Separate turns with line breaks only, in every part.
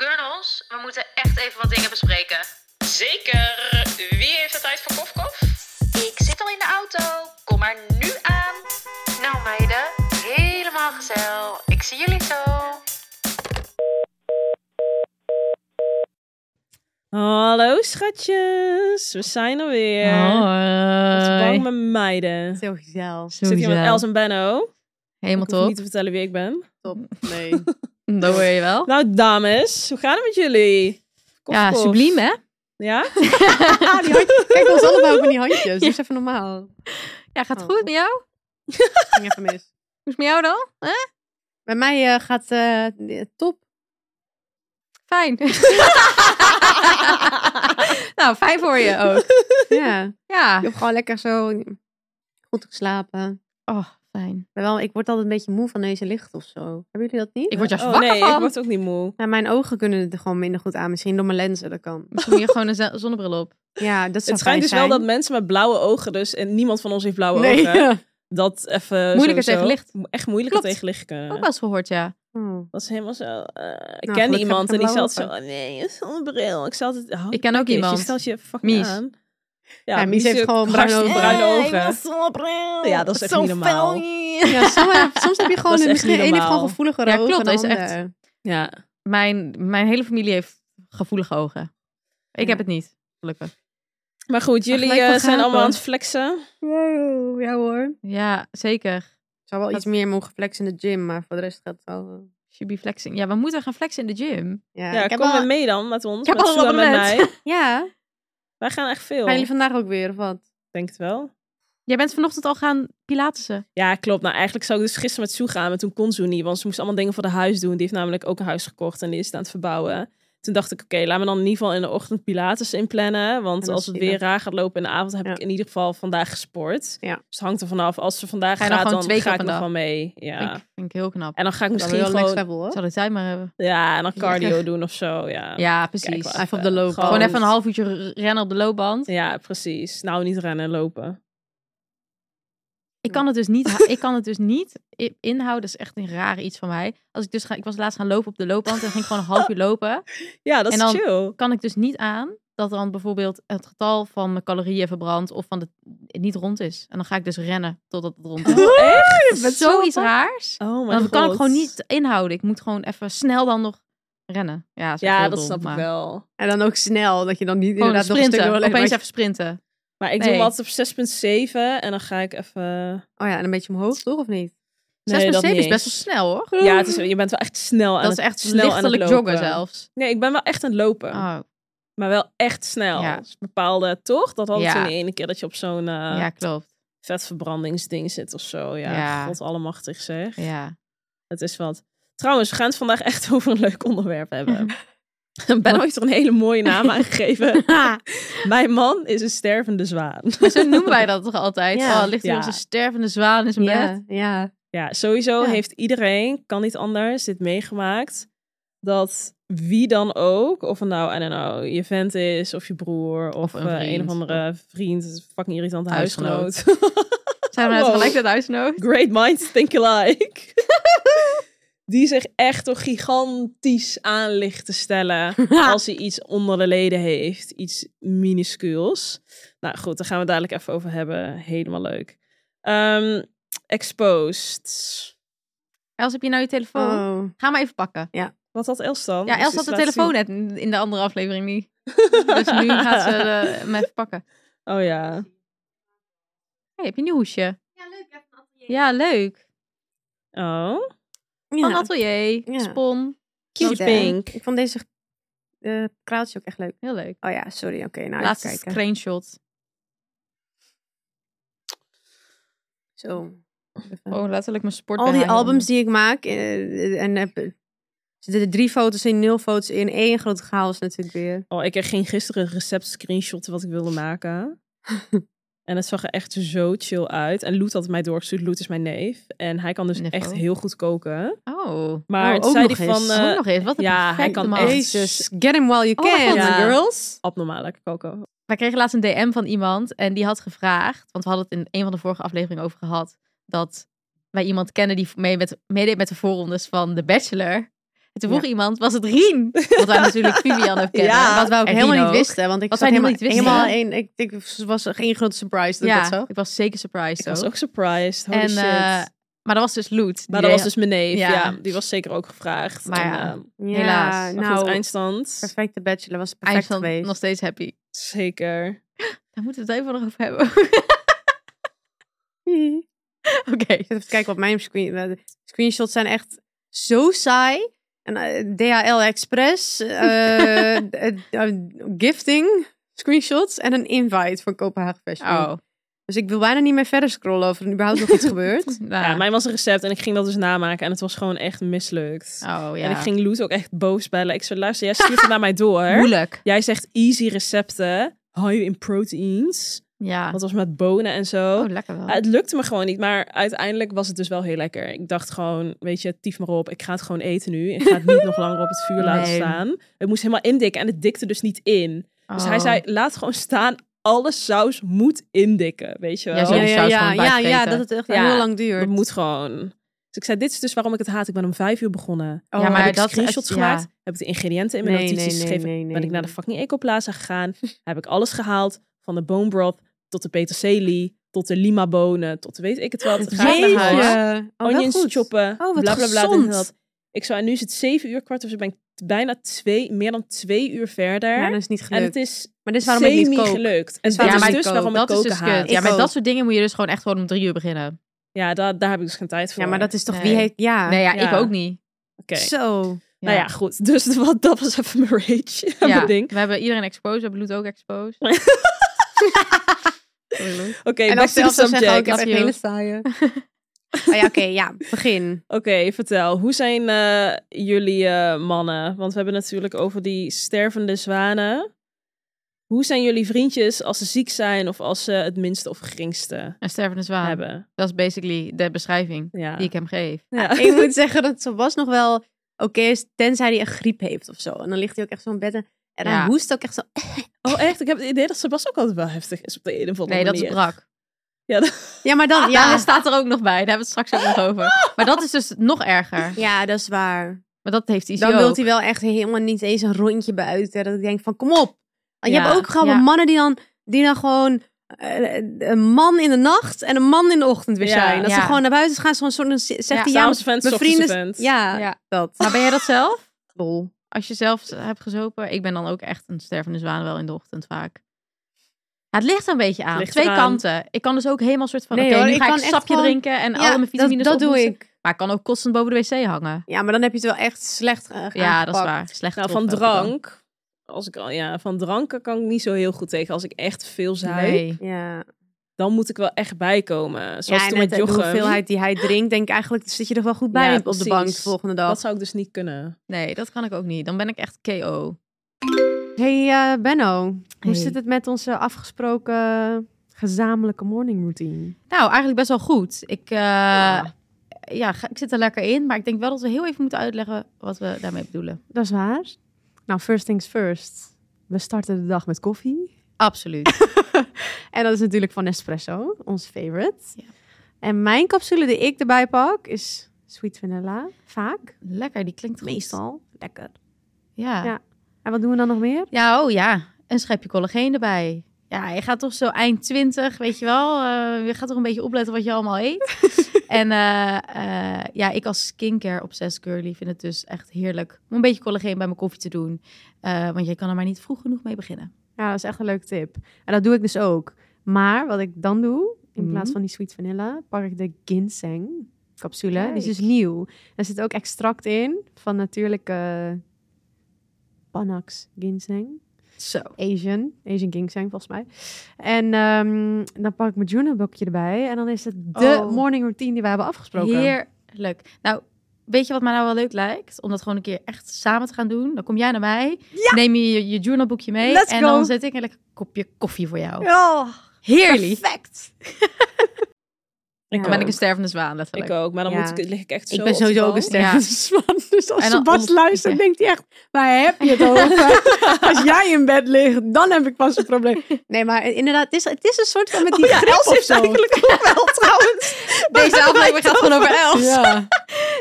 Gurnels, we moeten echt even wat dingen bespreken.
Zeker. Wie heeft er tijd voor kofkof?
Ik zit al in de auto. Kom maar nu aan. Nou meiden, helemaal gezellig. Ik zie jullie zo.
Hallo schatjes, we zijn er weer. Op de bank
Hoi.
met meiden. Ik
Zo gezellig.
zit hier met
Sowieso.
Els en Benno.
Helemaal
Ik hoef
top.
niet te vertellen wie ik ben.
Nee.
Dat hoor je wel.
Nou dames, hoe gaat het met jullie? Kof,
ja,
kof.
subliem hè?
Ja?
ah, die handjes. Kijk, ons allebei ook met die handjes. Doe eens even normaal.
Ja, gaat het
Oh.
goed met jou? Hoe
Ging even mis.
is het met jou dan?
Bij mij eh, gaat eh, top.
Fijn. nou, fijn voor je ook.
Ja.
Ja.
Ik heb gewoon lekker zo goed geslapen.
Oh, fijn.
Maar wel, ik word altijd een beetje moe van deze licht of zo. Hebben jullie dat niet?
Ik word juist
Oh
wakker
nee, ik
van.
word ook niet moe.
Ja, mijn ogen kunnen het er gewoon minder goed aan. Misschien door mijn lenzen, dat kan.
Misschien moet je gewoon een ze- zonnebril op.
Ja, dat zou
Het schijnt
fijn
dus wel
zijn.
dat mensen met blauwe ogen, dus en niemand van ons heeft blauwe
Nee.
ogen, dat even
Moeilijker
sowieso-
tegen licht.
Echt moeilijker
Klopt.
tegen licht kunnen.
Ook wel eens gehoord, ja.
Oh.
Dat is helemaal zo. eh, ik
Nou,
ken
gelukkig
iemand en
heb ik
die
geen
zat zo. Oh nee, een zonnebril. Ik zat het. Oh,
Ik ken ook
kijk eens,
iemand.
Je stelt je fucking
Mies.
aan.
Ja, Mies heeft
ook
gewoon bruine
hartstikke
ogen.
bruine
Hey,
ogen.
mijn zonnebril.
Ja, dat is echt
Zo
niet normaal.
fel.
Ja, soms, soms heb je gewoon
Dat is echt
misschien
niet
één heeft
normaal.
gewoon gevoeliger
Ja,
ogen
klopt,
dan
dat is
de
echt-
ander.
Ja.
Mijn, mijn hele familie heeft gevoelige ogen. Ik
Ja.
heb het niet, gelukkig.
Maar goed, jullie
gelijk
eh,
van
zijn
gapen.
allemaal aan het flexen.
Wow, ja hoor.
Ja, zeker.
Ik zou wel
Dat-
iets meer mogen flexen in de gym, maar voor de rest gaat het wel. eh,
Should be flexing. Ja, we moeten gaan flexen in de gym.
Ja,
Ja,
ik heb
kom
wel-
weer mee dan met ons.
Ik heb
met
al een
Sue en met mij.
abonnement.
Ja,
Wij gaan echt veel.
gaan jullie
Ik
vandaag ook weer of wat?
denk het wel.
Jij bent vanochtend al gaan pilatesen.
Ja, klopt. Nou, eigenlijk zou ik dus gisteren met Sue gaan, maar toen kon Sue niet. Want ze moest allemaal dingen voor de huis doen. Die heeft namelijk ook een huis gekocht en die is het aan het verbouwen. Toen dacht ik, oké, laat me dan in ieder geval in de ochtend Pilates inplannen. Want
dat
als
is
het weer
zielig.
raar gaat lopen in de avond, heb
Ja.
ik in ieder geval vandaag gesport.
Ja.
Dus het hangt er vanaf. Als ze vandaag
Ga je dan
gaat,
gewoon
dan,
twee keer
ga ik
per
nog
dag?
wel mee. Ja.
Vind, ik, vind ik heel knap.
En dan ga ik
Dat is wel
misschien
heel next
gewoon...
level
Ik
hoor.
Zal de tijd maar hebben.
Ja, en dan
Ja.
cardio doen of zo. Ja, Oh,
Ja,
Kijk eh,
precies.
wel
Even op de loopband.
Gewoon even een half uurtje r- rennen op de loopband.
Ja, precies. Nou, niet rennen, lopen.
Ik kan het dus niet, ik kan het dus niet i- inhouden. Dat is echt een raar iets van mij. Als ik dus ga, ik was laatst gaan lopen op de loopband en ging ik gewoon een half uur lopen.
Ja, dat is
En dan-
chill.
Kan ik dus niet aan dat dan bijvoorbeeld het getal van mijn calorieën verbrand of van de niet rond is. En dan ga ik dus rennen totdat het rond is.
bent zo
Zoiets
apart.
raars.
Oh my
Dan
god.
kan ik gewoon niet inhouden. Ik moet gewoon even snel dan nog rennen. Ja, is echt
Ja,
heel
dat
dom,
snap
maar-
ik wel.
En dan ook snel, dat je dan niet
Gewoon
inderdaad nog een stuk
sprinten.
door
Opeens even sprinten.
Maar ik doe
Nee.
hem altijd op 6.7 en dan ga ik even...
Oh ja, en een beetje omhoog toch of niet?
Nee,
6
dat
met 7 is
niet
best wel
eens.
snel hoor.
Ja, het is, je bent wel echt snel aan
dat is
het-
echt
snel aan het
lichtelijk
lopen.
joggen zelfs.
Nee, ik ben wel echt aan het lopen.
Oh,
Maar wel echt snel.
Ja.
Dus bepaalde, toch? Dat hadden
Ja.
ze de ene keer dat je op zo'n eh,
ja, klopt.
vetverbrandingsding zit of zo. Ja,
Ja.
god allemachtig zeg.
Ja.
Het is wat. Trouwens, we gaan het vandaag echt over een leuk onderwerp hebben. Ben heeft er een hele mooie naam aan gegeven. Mijn man is een stervende zwaan.
Maar zo noemen wij dat toch altijd?
Ja.
Oh, ligt hier
Ja.
onze stervende zwaan in zijn bed.
Ja, ja.
Ja, sowieso
Ja.
heeft iedereen, kan niet anders, dit meegemaakt. Dat wie dan ook, of het nou, I don't know, je vent is, of je broer, of,
een
eh, een,
vriend.
of andere vriend, fucking irritante
Huisgenoot.
huisgenoot.
Zijn we nou
Wow.
gelijk dat huisnood?
Great minds think alike. Die zich echt toch gigantisch aan ligt te stellen als hij iets onder de leden heeft. Iets minuscuuls. Nou goed, daar gaan we dadelijk even over hebben. Helemaal leuk. Ehm, exposed.
Els, heb je nou je telefoon?
Oh.
Ga maar even pakken.
Wat had Els dan?
Ja,
Dus
Els
ze
had de
laat
telefoon
zien-
net in in de andere aflevering niet. Dus nu gaat ze eh, hem even pakken.
Oh ja.
Hey, heb je een nieuw hoesje? Ja, leuk.
Oh.
Van
Ja.
Atelier,
Ja.
Spon.
Cute
Cute, hè?
pink.
Ik vond deze eh kraaltje ook echt leuk.
Heel leuk.
Oh ja, sorry. Oké, nou even
Laatste
kijken.
screenshot.
Zo.
Oh, letterlijk mijn sport.
Al die albums die ik maak. eh, en heb, er zitten er drie foto's in, nul foto's in. één grote chaos natuurlijk weer.
Oh, ik ging gisteren een recept screenshot wat ik wilde maken. en het zag er echt zo chill uit. En Loet had het mij doorgestuurd. Loet is mijn neef. En hij kan dus
Nevo.
echt heel goed koken.
Oh.
Oh,
Maar het
ook
zei
nog
hij
eens.
van...
Ook
eh,
nog eens. Wat een
ja, hij
perfecte
kan
man.
echt
Jezus, get him while you
Oh mijn
can,
God. Ja.
girls.
abnormaal lekker koken.
Wij kregen laatst een DM van iemand en die had gevraagd, want we hadden het in een van de vorige afleveringen over gehad, dat wij iemand kennen die mee met, meedeed met de voorrondes van The Bachelor. En toen vroeg iemand, was het Rien? Want wij natuurlijk Vivian ook kennen.
Ja, wat we ook
En
helemaal
Rien
niet
ook.
wisten. Want ik
Wat
zat
wij helemaal
helemaal, niet
niet
helemaal
wisten.
één, ik, ik was geen grote surprise dat
Ja,
dat zo.
ik was zeker surprised
Ik was
ook.
ook surprised. Holy
en,
shit.
eh, maar dat was dus Loot. die
maar dat
deed-
was dus mijn neef.
ja.
Ja. die was zeker ook gevraagd.
Maar
en,
ja,
eh,
Ja,
helaas. Maar
nou,
Nou,
eindstand.
perfecte bachelor was perfect
Eindstand
geweest.
nog steeds happy.
Zeker.
Daar moeten we het even nog over hebben. Oké.
Ik zit even te kijken wat mijn screen, eh, screenshots zijn echt zo saai. En eh, DHL Express, eh, eh, eh, gifting, screenshots en een invite voor Kopenhagen Fashion Week.
Oh.
Dus ik wil bijna niet meer verder scrollen of er überhaupt nog iets gebeurt.
Nou,
Ja, mijn was een recept en ik ging dat dus namaken. En het was gewoon echt mislukt.
oh ja.
En ik ging Loet ook echt boos bellen. Ik zei, luister, jij stuurt het naar mij door.
Moeilijk.
Jij zegt easy recepten. High in proteins.
Ja.
Dat was met bonen en zo.
Oh, lekker wel.
Ja, het lukte me gewoon niet, maar uiteindelijk was het dus wel heel lekker. Ik dacht gewoon, weet je, tief maar op. Ik ga het gewoon eten nu. Ik ga het niet nog langer op het vuur laten
Nee.
staan. Het moest helemaal indikken en het dikte dus niet in. Dus hij
Oh.
zei, laat gewoon staan. Alle saus moet indikken, weet je wel.
Ja, zo. die saus
ja,
gewoon
ja, ja,
bijvreten.
dat het echt
Ja.
heel lang
Dat
duurt.
moet gewoon. Dus ik zei, dit is dus waarom ik het haat. Ik ben om vijf uur begonnen.
Oh,
ja, maar
heb ik
dat
screenshots
het- ja.
gemaakt. Heb ik de ingrediënten in mijn
Nee,
notities
nee, nee,
geschreven.
nee, nee,
ben ik naar de
nee.
fucking Ecoplaza gegaan. heb ik alles gehaald. Van de bone broth tot de peterselie. Tot de lima bonen. Tot de weet ik het wat. Ga ik naar huis.
Jeetje. Oh, wel
onions
goed.
choppen.
Oh, wat
bla, bla, bla, dit en
gezond.
dat. Ik zou, en nu is het zeven uur kwart, dus ik ben t- bijna twee, meer dan twee uur verder.
Ja, dat is niet
en
gelukt.
het is
maar dit is waarom ik niet
semi
kook.
gelukt. En
waarom
dat
ik
is dus
kook.
waarom ik
dat is
koken
dus kut.
haat.
Ja,
Ik
met
ook.
dat soort dingen moet je dus gewoon echt gewoon om drie uur beginnen.
Ja, da- daar heb ik dus geen tijd voor.
Ja, maar dat is toch
Nee.
wie heeft... Ja,
nee, ja, ik
ja.
ook niet.
Oké.
zo.
Nou ja, goed. Dus wat, dat was even mijn rage.
Ja.
mijn ding.
we hebben iedereen exposed, we hebben Loet ook exposed. Sorry, Loet.
Oké,
en
back
als
to the
zelfs dan zeggen, oh, ik
subject.
heb
Oké,
echt
you.
hele saaie. oh, ja, oké, ja, begin.
vertel. Hoe zijn eh, jullie eh, mannen? Want we hebben natuurlijk over die stervende zwanen. Hoe zijn jullie vriendjes als ze ziek zijn of als ze het minste of geringste
Een stervende zwaan.
hebben?
Dat is basically de beschrijving
Ja.
die ik hem geef.
Ja.
Ik moet zeggen dat Sebas nog wel oké is, tenzij hij een griep heeft of zo. En dan ligt hij ook echt zo in bed en, en
Ja.
hij hoest ook echt zo.
Oh, echt? Ik heb het idee dat Sebas ook altijd wel heftig is op de een of andere
Nee, dat
manier.
is brak.
Ja, dat-
Ja, maar dan,
Ja,
ja,
hij staat er ook nog bij. Daar hebben we het straks ook nog over. Maar dat is dus nog erger.
ja, dat is waar.
Maar dat heeft ICO
Dan
ook.
wilt hij wel echt helemaal niet eens een rondje buiten. Dat ik denk van, kom op. Je
Ja,
hebt ook gewoon
ja.
mannen die dan, die dan gewoon eh, een man in de nacht en een man in de ochtend weer
Ja,
zijn. Dat ze
ja.
gewoon naar buiten gaan, zo'n soort, dan zegt
Ja,
hij, ja,
S'avonds event,
mijn
ochtends
vrienden...
event.
Ja,
Ja.
dat.
Maar ben jij dat zelf?
Lol.
Als je zelf hebt gezopen. Ik ben dan ook echt een stervende zwaan wel in de ochtend vaak. Ja, het ligt er een beetje aan.
Ligt
Twee
eraan.
kanten. Ik kan dus ook helemaal soort van...
Nee,
Oké,
hoor,
nu
ik
ga ik
kan
een
echt
sapje
gewoon-
drinken en
Ja,
alle mijn vitamines
dat, dat doe
ophoesten.
ik.
Maar ik kan ook constant boven de wc hangen.
Ja, maar dan heb je het wel echt slecht eh,
Ja, dat is
aangepakt.
waar. Slecht
Nou, van
getroffen heb ik dan.
drank... Als ik al, ja, van drank kan ik niet zo heel goed tegen. Als ik echt veel zuip,
Nee.
Ja.
dan moet ik wel echt bijkomen. Zoals
ja, en
toen met
net eh, de
Jochem.
hoeveelheid die hij drinkt, denk ik eigenlijk zit je er wel goed
Ja,
bij op de bank de
precies.
volgende dag.
Dat zou ik dus niet kunnen.
nee, dat kan ik ook niet. Dan ben ik echt KO.
Hey eh, Benno, hoe
Hey.
zit het met onze afgesproken gezamenlijke morning routine?
Nou, eigenlijk best wel goed. Ik, eh, ja. ga- ik zit er lekker in. Maar ik denk wel dat we heel even moeten uitleggen wat we daarmee bedoelen.
Dat is waar. Nou, first things first. We starten de dag met koffie.
Absoluut.
En dat is natuurlijk van Nespresso, ons favorite.
Ja.
En mijn capsule die ik erbij pak is sweet vanilla, vaak.
lekker, die klinkt goed.
Meestal. Lekker.
Ja.
Ja. En wat doen we dan nog meer?
Ja, oh ja. Een schepje collageen erbij. Ja, je gaat toch zo eind 20, weet je wel. eh, je gaat toch een beetje opletten wat je allemaal eet. en eh, eh, ja, ik als skincare obsessed girly vind het dus echt heerlijk om een beetje collageen bij mijn koffie te doen. Eh, want je kan er maar niet vroeg genoeg mee beginnen.
Ja, dat is echt een leuke tip. En dat doe ik dus ook. Maar wat ik dan doe, in
Mhm.
plaats van die sweet vanilla, pak ik de ginseng capsule. Die is dus
Kijk.
nieuw. Er zit ook extract in van natuurlijke Panax ginseng.
Zo.
Asian. Asian King zijn volgens mij. En ehm, dan pak ik mijn Junebokje erbij. En dan is het de
Oh.
morning routine die we hebben afgesproken.
Heerlijk. Nou, weet je wat mij nou wel leuk lijkt? Om dat gewoon een keer echt samen te gaan doen. Dan kom jij naar mij, neem je je, je journalboekje mee
Let's
en
go.
dan zet ik een lekker kopje koffie voor jou.
Oh,
Heerlijk.
perfect.
Ik
Dan ben ik
ook.
een stervende zwaan, letterlijk.
Ik ook, maar dan
Ja.
moet ik, lig ik echt zo
Ik ben
op de
sowieso ook een
bank.
sterke
Ja.
zwan. Dus als
Nou,
En
ze
dan
Bas
ons-
luistert,
ja.
denkt hij echt... Waar heb je het over? als jij in bed ligt, dan heb ik pas een probleem. Nee, maar inderdaad, het is, het is een soort van met die
Oh Ja,
grip
Els
of
heeft
zo.
eigenlijk ook wel trouwens.
Deze aflevering gaat gewoon over Els.
Ja.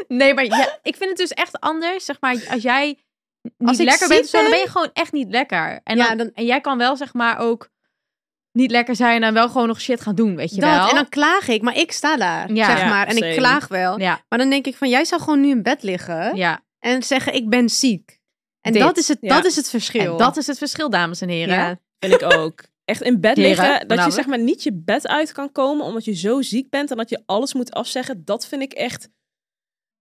Nee, maar ja, ik vind het dus echt anders. Zeg maar, als jij niet
Als ik
lekker
ziek
bent, of zo, dan
ben-
ben je gewoon echt niet lekker. En,
Ja,
dan,
dan-
en jij kan wel, zeg maar, ook niet lekker zijn en wel gewoon nog shit gaan doen, weet je wel.
Dat, en dan klaag ik, maar ik sta daar,
Ja.
zeg
Ja,
maar. En
same.
ik klaag wel.
ja,
Maar dan denk ik van, jij zou gewoon nu in bed liggen
ja.
en zeggen, ik ben ziek. En
Dit.
dat is, het,
Ja.
dat is het verschil.
En dat is het verschil, dames en heren.
ja.
Vind ik ook. Echt in bed
Heren,
liggen, dat je
voornamelijk.
zeg maar niet je bed uit kan komen omdat je zo ziek bent en dat je alles moet afzeggen. Dat vind ik echt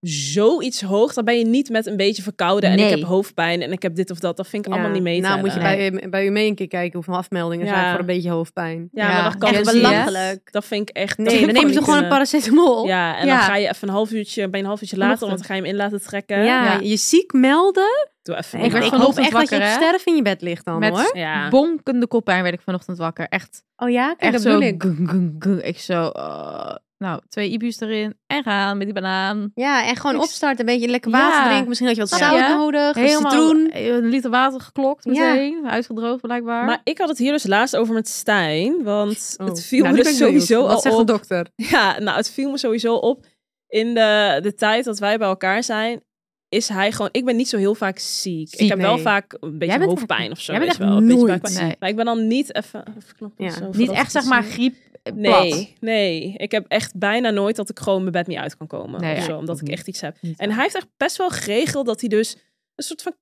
zoiets hoog. Dan ben je niet met een beetje verkouden en
Nee.
ik heb hoofdpijn en ik heb dit of dat. Dat vind ik
Ja.
allemaal niet mee te
Nou, moet je
tellen.
bij, bij u mee een keer kijken hoeveel afmeldingen
Ja.
zijn voor een beetje hoofdpijn.
Ja, maar
Ja,
dat kan
echt
dus niet.
belachelijk.
Dat vind ik echt... dat
Nee,
vind
dan
ik
nemen ze
niet
gewoon een
kunnen.
paracetamol.
Ja, en
Ja.
dan ga je even een half uurtje, bij een half uurtje later, want
Vanochtend.
dan ga je hem in laten trekken.
Ja,
Ja.
je ziek melden.
Doe even
Ik,
werd
normaal.
ik hoop
vanochtend
echt dat je op
wakker, hè?
sterf in je bed ligt dan,
Met
hoor.
Ja.
bonkende koppijn werd ik vanochtend wakker. Echt,
Oh ja, kijk,
echt
dat
zo.
bedoel ik.
gung, gung, gung. Ik zo, eh, nou, twee Ibu's erin en gaan met die banaan.
Ja, en gewoon
Ik-
opstarten, een beetje lekker water
Ja.
drinken. Misschien had je wat
Ja.
zout
Ja.
nodig, een
Helemaal
citroen.
een liter water geklokt
Ja.
meteen. Uitgedroogd blijkbaar.
Maar ik had het hier dus laatst over met Stijn, want
Oh.
het viel
Nou,
me
nu
dus
ben ik benieuwd.
sowieso al
Wat zegt de
op.
dokter?
Ja, nou, het viel me sowieso op in de, de tijd dat wij bij elkaar zijn. Is hij gewoon, ik ben niet zo heel vaak ziek.
Ziek,
ik heb wel
nee.
vaak een beetje
Jij bent
hoofdpijn
echt-
of zo.
jij bent
weet je
echt
wel, een beetje
nooit
buikpijn.
ziek.
Maar ik ben dan niet even. even knoppen,
Ja,
zo,
niet
voordat
echt,
het
zeg maar,
is.
griep eh, plat.
Nee, nee. Ik heb echt bijna nooit dat ik gewoon mijn bed niet uit kan komen.
Nee,
of
ja,
zo, omdat
ook
ik
niet.
echt iets heb.
Niet
En hij heeft echt best wel geregeld dat hij dus een soort van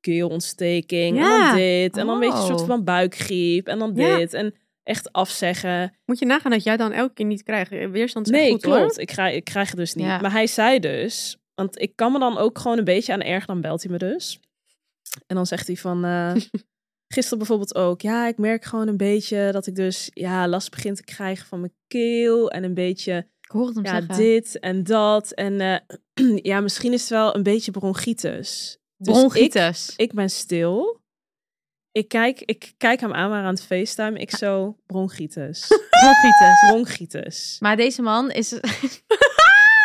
keelontsteking. En
Ja.
dan dit. En dan een beetje een soort
Oh.
van buikgriep. En dan
Ja.
dit. En echt afzeggen.
Moet je nagaan dat jij dan elke keer niet krijgt. Weerstand is echt
Nee,
goed, hoor.
klopt. Ik, krijg, ik krijg het dus niet.
Ja.
Maar hij zei dus, want ik kan me dan ook gewoon een beetje aan erg, dan belt hij me dus. En dan zegt hij van, eh, gisteren bijvoorbeeld ook, ja, ik merk gewoon een beetje dat ik dus, ja, last begint te krijgen van mijn keel en een beetje,
Ik hoor het hem
ja,
zeggen.
dit en dat. En eh, ja, misschien is het wel een beetje bronchitis. Dus ik,
Bronchitis.
ik ben stil. Ik kijk, ik kijk hem aan, maar aan het FaceTime. Ik zo, bronchitis.
Bronchitis.
bronchitis.
Maar deze man is...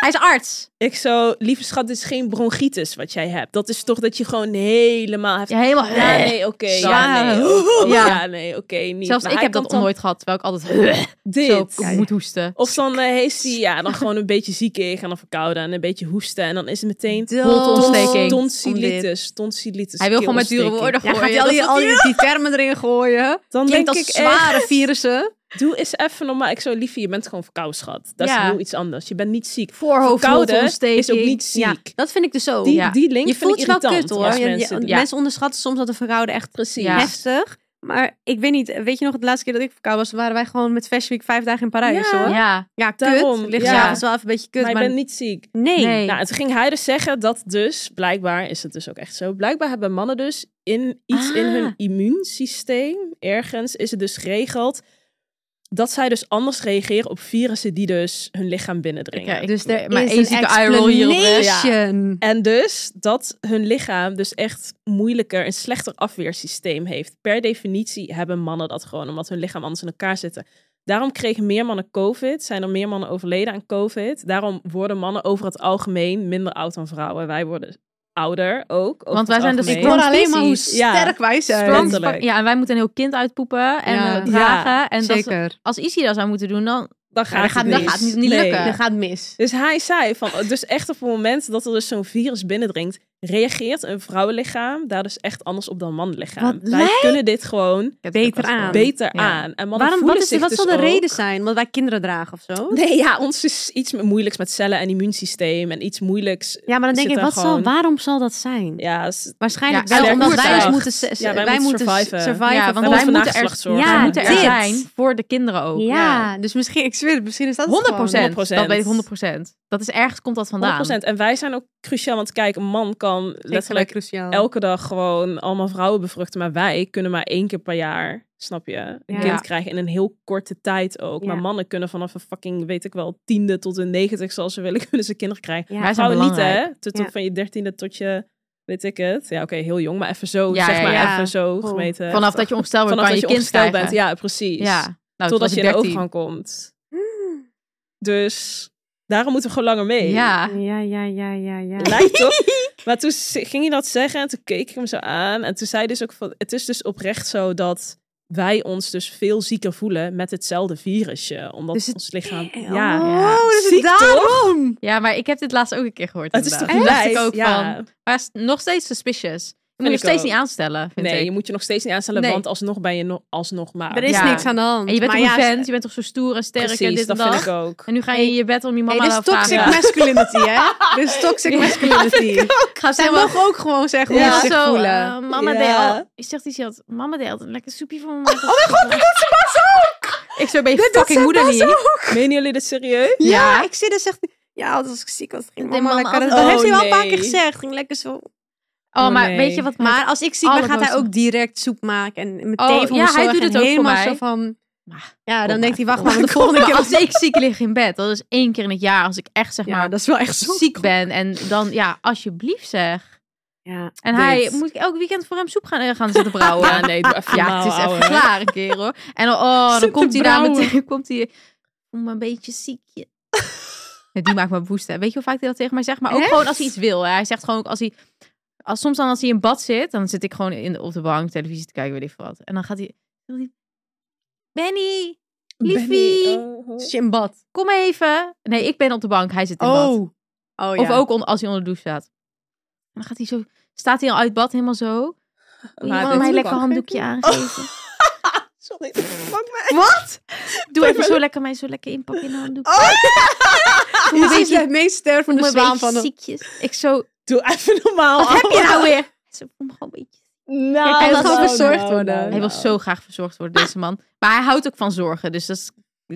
hij is arts.
Ik zo, lieve schat, dit is geen bronchitis wat jij hebt. Dat is toch dat je gewoon helemaal hebt...
Ja, helemaal...
Ja, nee, oké. Ja,
Ja.
nee, oh,
Ja.
ja, nee, oké, niet.
Zelfs
Maar
ik
hij
heb dat
komt dan
nooit gehad, terwijl ik altijd zo
Dit.
moet hoesten.
Of dan eh, heeft hij ja, dan gewoon een beetje ziekig en dan verkouden en een beetje hoesten. En dan is het meteen
Holtontsteking.
tonsillitis, tonsillitis.
Hij wil gewoon met dure
keelontsteking.
woorden
Ja, gaat
gooien.
hij al,
Dat
die,
is
al
wat hij
die, die termen erin gooien?
Dan
Klinkt
denk
als
ik echt,
zware virussen.
doe eens even normaal. Ik zo, liefie, je bent gewoon verkouden, schat. Dat is
Ja.
heel iets anders. Je bent niet ziek.
Voorhoofd,
Verkouden is ook
holteontsteking.
niet ziek.
Ja, dat vind ik dus ook.
Die,
Ja.
die link
Je
vind
voelt
ik
je wel
irritant
kut hoor.
als
Je- je-
mensen
mensen,
die-
ja.
onderschatten soms dat de verhouden echt
Precies.
Ja.
heftig. Maar ik weet niet, weet je nog, de laatste keer dat ik verkouden was, waren wij gewoon met Fashion Week vijf dagen in Parijs
Ja.
hoor.
Ja,
Ja, kut.
Daarom,
Het ligt
ja.
s'avonds wel even een beetje kut.
maar
Maar,
ik ben niet ziek.
nee.
nee.
Nou, toen ging hij dus zeggen dat dus, blijkbaar is het dus ook echt zo, blijkbaar hebben mannen dus in iets in
Ah.
hun immuunsysteem, ergens is het dus geregeld, dat zij dus anders reageren op virussen die dus hun lichaam binnendringen.
Oké.
Dus er
Maar
is
één
een
zieke eye roll hierop, hè?
explanation.
En dus dat hun lichaam dus echt moeilijker, een slechter afweersysteem heeft. Per definitie hebben mannen dat gewoon, omdat hun lichaam anders in elkaar zitten. Daarom kregen meer mannen COVID, zijn er meer mannen overleden aan COVID. Daarom worden mannen over het algemeen minder oud dan vrouwen. Wij worden ouder ook. over
Want wij
het
zijn dus
Ik
algemeen.
hoor alleen maar hoe
Ja.
sterk wij zijn.
Strong.
Want-
letterlijk.
ja, en wij moeten een heel kind uitpoepen en
Ja.
eh, dragen. en dat,
Zeker.
als Isi dat zou moeten doen, dan...
Dan
Ja,
gaat,
dat
het
gaat-
mis.
dat gaat niet
Nee.
lukken.
Dat gaat mis.
Dus hij zei van, dus echt op het moment dat er dus zo'n virus binnendringt, reageert een vrouwenlichaam daar dus echt anders op dan een mannenlichaam.
Wat
Wij kunnen dit gewoon
Beter aan.
beter
Ja.
aan. En mannen
Waarom,
voelen
wat is,
zich
wat
dus
zal de
ook-
reden zijn? Omdat wij kinderen dragen of zo?
Nee, ja, ons is iets me- moeilijks met cellen en immuunsysteem en iets moeilijks.
Ja, maar dan denk
Zit
ik,
er
wat zal,
gewoon-
waarom zal dat zijn?
Ja, s-
Waarschijnlijk
Ja,
wel,
sterk
omdat wij
oerkracht.
dus moeten, s-
Ja, wij
wij
moeten
moeten
surviven.
surviven.
ja, want
wij
wij
moeten
moeten er,
nageslachtszorg
ja,
hebben.
moeten er
Dit.
zijn voor de kinderen ook.
Ja,
Ja.
dus misschien, ik zweer het, misschien is dat
100%.
het gewoon.
100%.
Dat weet ik 100%. Dat is ergens komt dat vandaan.
100%. En wij zijn ook cruciaal, want kijk, een man kan letterlijk
cruciaal.
elke dag gewoon allemaal vrouwen bevruchten. Maar wij kunnen maar één keer per jaar, snap je, een
Ja.
kind krijgen in een heel korte tijd ook.
Ja.
Maar mannen kunnen vanaf een fucking, weet ik wel, tiende tot een negentigste als ze willen, kunnen ze kinderen krijgen.
Ja.
Wij zijn
Vrouwen niet,
belangrijk.
hè? Tot, tot
Ja.
van je dertiende tot je, weet ik het. Ja, oké, heel jong, maar even zo,
Ja,
zeg
ja,
maar,
ja.
even zo
Cool.
gemeten.
Vanaf dat je ongesteld wordt,
Vanaf
kan
dat
je, kind
ongesteld
krijgen.
bent. Ja, precies.
Ja. Nou, toen
Totdat
was
je
ik
in de
13.
overgang komt. Dus daarom moeten we gewoon langer mee.
Ja.
Ah, Ja, ja, ja, ja, ja.
Lijkt toch? Maar toen z- ging je dat zeggen en toen keek ik hem zo aan. En toen zei hij dus ook van, het is dus oprecht zo dat wij ons dus veel zieker voelen met hetzelfde virusje. Omdat
Dus het-
ons lichaam...
Oh,
Ja.
dus het
Ziek, toch?
daarom.
Ja, maar ik heb dit laatst ook een keer gehoord.
Het is toch
inderdaad. Toen dacht
lijp?
ik ook
Ja.
van. Maar het is nog steeds suspicious. Je moet
ik
je steeds
ook.
niet aanstellen, vind
Nee,
ik.
je moet je nog steeds niet aanstellen,
Nee.
want alsnog ben je no- alsnog maar.
Er is
Ja.
niks aan de hand.
En je bent
maar
toch
ja,
een vent, je bent toch zo stoer en sterk
Precies,
en dit en
dat
dat.
vind ik ook.
En nu ga je in je bed om je
Hey,
mama
dit is
te
toxic
vragen.
masculinity, hè? Dit is toxic masculinity.
Ga
Zij mogen ook gewoon zeggen hoe
Ja,
ze zich
zo,
voelen.
eh, mama
Ja.
deelt. Je zegt iets, je had, mama deelt een lekker soepje voor me. Oh mijn god, dat was ook! Ik zo, ben je
Dit doet
fucking
ze
moeder
pas
niet?
ook.
Menen jullie dit serieus?
Ja,
Ja.
ik zit er zegt... Ja, als ik ziek was, ging
Nee, mama
mama, lekker...
altijd-
dat
Oh,
heeft hij wel een paar
nee.
keer gezegd. Ging lekker zo...
Oh,
Oh,
maar
nee.
weet je wat?
Maar als ik ziek ben, gaat hij
Allerhoogste.
ook direct soep maken. En meteen
Oh,
voor
ja,
me zorgen
hij doet
en
het ook voor
helemaal
mij.
zo van...
Maar,
Ja, dan
kom
denkt hij, wacht
kom
maar, de volgende
maar,
keer...
Als ik ziek lig in bed, dat is één keer in het jaar als ik echt zeg
Ja,
maar
dat is wel echt zo.
ziek ben. En dan, ja, alsjeblieft zeg.
Ja,
En hij,
dit.
moet ik elk weekend voor hem soep gaan, eh, gaan zitten brouwen?
Ja, nee, doe even
Ja,
normaal,
het is
ouwe.
even klaar een keer hoor. En dan, oh, dan
Zitten
komt hij daar
brouwen.
meteen. Komt hij, voel me een beetje ziekje. Ja, die maakt me woest. Hè. Weet je hoe vaak hij dat tegen mij zegt? Maar ook
Echt?
gewoon als hij iets wil. Hè. Hij zegt gewoon ook als hij. Als, soms dan als hij in bad zit, dan zit ik gewoon in, op de bank televisie te kijken, weet ik veel wat. En dan gaat hij. wil hij- Benny, liefie,
Benny, oh, oh.
Zit je in bad?
kom even. Nee, ik ben op de bank. Hij zit in bad.
Oh. oh ja.
Of ook on- als hij onder de douche staat. En dan gaat hij zo, staat hij al uit bad helemaal zo. Wil je
Maar
mama
dit-
mij lekker handdoekje aangeven?
Sorry, fuck mij.
Wat?
Doe even zo lekker mij zo lekker inpakken in een handdoekje.
Oh! Je
beetje-
ziet het meest
Voel
stervende
me
zwaan
een
van
beetje
de...
ziekjes. Ik zo,
Doe even normaal.
wat heb
ouwe.
je nou weer? Hij zo, voel me gewoon een beetje.
Nou,
Hij wil
nou,
gewoon verzorgd
nou,
worden.
nou,
Hij wil
nou.
zo graag verzorgd worden, deze man. Maar hij houdt ook van zorgen. Dus dat is,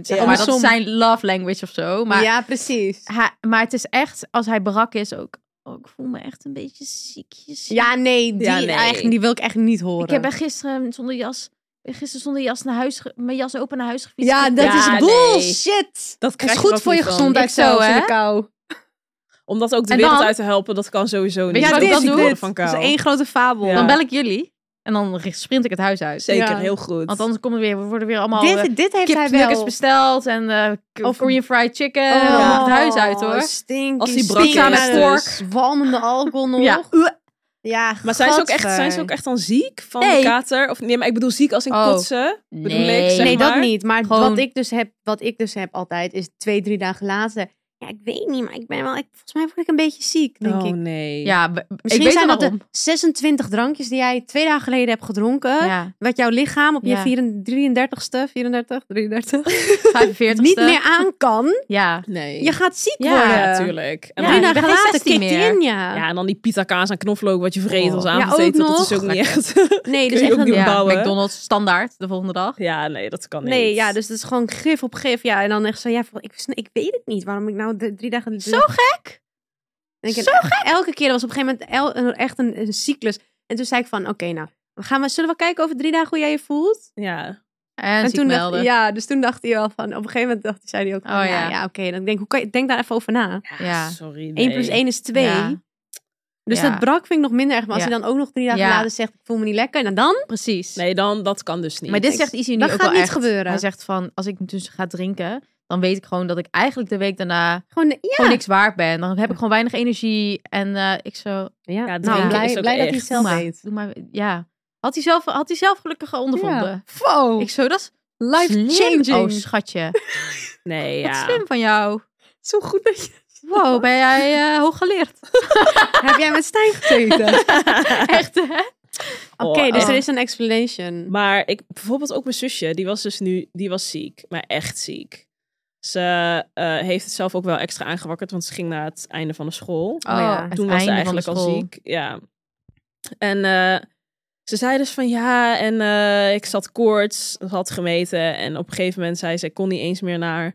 zeg
Ja.
maar, dat is
Andersom.
zijn love language of zo. Maar,
Ja, precies.
hij- maar het is echt, als hij brak is ook... Oh, ik voel me echt een beetje ziekjes.
Ja, nee, die,
Ja, nee.
Eigenlijk, die wil ik echt niet horen.
Ik heb echt gisteren zonder jas... Gisteren zonder jas naar huis... ge- Mijn jas open naar huis gefietst.
Ja, dat
Ja,
is
nee.
bullshit.
Dat
Het
krijg
is
je er
goed
ook
voor je
niet van.
gezondheid
Ik zo,
zelfs in
hè?
de kou.
Om dat ook de
En
wereld
dan-
uit te helpen, dat kan sowieso niet.
je
ja,
wat
dat
ik dan
dit,
doe?
dit.
van
Dat
kou.
is één grote fabel.
Ja.
Dan bel ik jullie. En dan sprint ik het huis uit.
Zeker,
Ja.
heel goed.
Want anders komen we weer, we worden weer allemaal... eh,
Dit, dit heeft hij
kipnuggets
wel.
besteld en eh k-
Of-
Korean fried chicken.
Oh,
en dan het huis uit hoor.
Stinky,
Als die brak
stinky,
is,
met
dus.
pork. Walmende alcohol nog.
Ja.
Ja,
maar zijn ze, ook echt,
gadver.
zijn ze ook echt dan ziek van
Nee.
kater? Of, nee, maar ik bedoel ziek als in
Oh.
kotsen. Bedoel ik, zeg
Nee, dat
maar.
niet. Maar
Gewoon-
wat, ik dus heb, wat ik dus heb altijd is twee, drie dagen later. Ja, ik weet niet, maar ik ben wel... Ik, volgens mij word ik een beetje ziek, denk
oh
ik.
nee.
Ja, b- b- ik
Misschien
weet
zijn
wel
dat
waarom.
de 26 drankjes die jij twee dagen geleden hebt gedronken.
Ja,
Wat jouw lichaam op
Ja.
je 33ste, 34, 33,
45
niet meer aan kan.
Ja.
Nee.
Je gaat ziek
Ja,
worden.
Ja, natuurlijk. En,
Drie
Ja,
dan,
je
dagen
bent geen
later
16
kikt die
meer.
in, ja.
ja, en dan die pita kaas en knoflook wat je vreet
Oh.
als
Ja,
avondeten.
ook
dat is
nog.
ook niet echt...
Nee, dus
Kun je
echt
ook
een...
niet
ja.
ja.
bouwen.
McDonald's standaard de volgende dag.
ja, nee, dat kan niet.
Nee, ja, dus dat is gewoon gif op gif. Ja, en dan echt zo, ja, voor- ik, ik weet het niet waarom ik nou de- drie dagen...
Zo gek!
denk ik,
zo
Elke keer, er was op een gegeven moment el- een- echt een, een cyclus. En toen zei ik van, oké, nou, we gaan we, zullen we kijken over drie dagen hoe jij je voelt?
Ja.
En,
En
toen
toen
melden.
dacht,
Ja.
ja, dus toen dacht hij wel van, op een gegeven moment dacht, zei hij ook van,
Oh,
ja,
ja.
ja, oké. Dan denk ik, hoe kan je, denk daar even over na.
Ja.
Sorry,
1
nee.
plus 1 is 2.
Ja.
Dus
Ja.
dat brak vind ik nog minder erg. Maar als
Ja.
hij dan ook nog drie dagen
Ja.
later zegt, ik voel me niet lekker. Nou dan,
Precies.
Nee, dan, dat kan dus niet.
maar dit
ik-
zegt Izzy nu
dat
ook
gaat
wel
niet
echt.
gebeuren.
Hij zegt van, als ik dus ga drinken, dan weet ik gewoon dat ik eigenlijk de week daarna
gewoon, ja.
gewoon niks waard ben. Dan heb ik gewoon weinig energie. En eh, ik zo,
ja,
drinken
nou, blij,
is ook
blij dat hij
echt.
het zelf
maar,
weet.
Doe maar, ja. Had hij zelf, had hij zelf gelukkig ondervonden.
Wow.
Ik zo, dat is
Life
slim.
changing.
Oh, schatje.
Nee,
Wat
ja.
slim van jou.
Zo goed dat je...
Wow, ben jij eh, hoog geleerd.
Heb jij met Stijn gezeten?
Echt, hè?
Oké,
Oh,
dus
oh.
er is een explanation.
Maar ik, bijvoorbeeld ook mijn zusje, die was dus nu, die was ziek, maar echt ziek. Ze eh, heeft het zelf ook wel extra aangewakkerd, want ze ging naar het einde van de school.
Oh ja.
het
Toen was ze
einde van de
eigenlijk al
school.
ziek. Ja. En eh, ze zei dus van ja, en eh, ik zat koorts, dat had gemeten. En op een gegeven moment zei ze, ik kon niet eens meer naar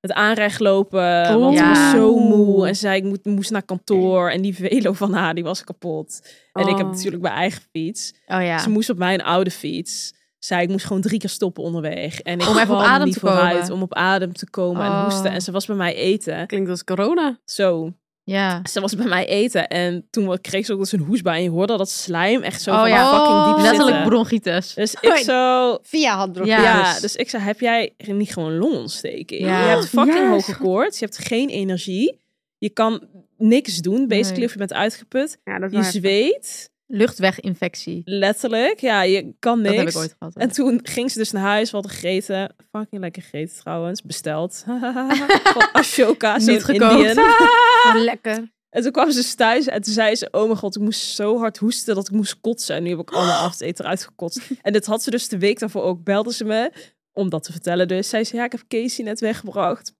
het aanrecht lopen.
Oh.
Want ik was
Ja.
zo moe. En zei, ik moet, moest naar kantoor. En die velo van haar, die was kapot. En ik heb
Oh.
natuurlijk mijn eigen fiets.
Oh ja.
Ze moest op mijn oude fiets. Zij, ik moest gewoon drie keer stoppen onderweg. En ik
Om even op
kwam
adem
niet
te komen.
vooruit Om op adem te komen en
Oh.
hoesten. En ze was bij mij eten.
Klinkt als corona.
Zo,
Ja.
ze was bij mij eten. En toen kreeg ze ook dus een hoes bij. En je hoorde dat slijm echt zo
Oh
van
ja.
fucking diep
Oh.
zitten.
Letterlijk bronchitis.
Dus ik zo...
Via had
Ja.
Ja,
dus-
dus. ik zei, heb jij niet gewoon longontsteking?
Ja.
Je hebt fucking
Ja, is
hoge koorts, je hebt geen energie, je kan niks doen, basically,
Nee.
of je bent uitgeput.
Ja, dat
Je
is waar.
zweet,
Luchtweginfectie.
letterlijk, ja, je kan
Dat
niks.
heb ik ooit gehad. hè.
En toen ging ze dus naar huis, wat gegeten. Fucking lekker gegeten trouwens, besteld. Van Ashoka, zo'n
Niet gekookt.
Indian.
Ah, lekker.
En toen kwam ze dus thuis en toen zei ze: Oh mijn god, ik moest zo hard hoesten dat ik moest kotsen. En nu heb ik alle avondeten eruit gekotst. En dit had ze dus de week daarvoor ook. Belde ze me om dat te vertellen. Dus zei ze: Ja, ik heb Casey net weggebracht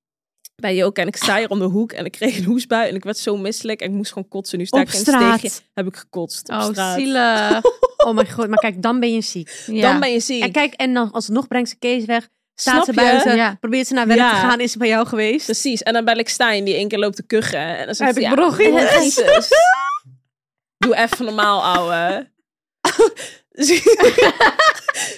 bij Joke. En ik sta hier om de hoek en ik kreeg een hoesbui. En ik werd zo misselijk en ik moest gewoon kotsen. Nu sta
Op
ik in een
straat.
steegje. Heb ik gekotst. Op
Oh,
straat. Eh,
zielig.
Oh mijn god, maar kijk, dan ben je ziek.
Ja.
Dan ben je ziek.
En kijk, en dan alsnog brengt ze Kees weg. Staat
Snap
ze
je?
buiten,
Ja.
probeert ze naar werk
Ja. Dus
te gaan, is ze bij jou geweest.
Precies. En dan bel ik Stijn die één keer loopt te kuchen. En dan zegt
Heb
ze,
ik
ja, oh,
bronchitis?
Jezus. Doe even normaal, ouwe. Dus-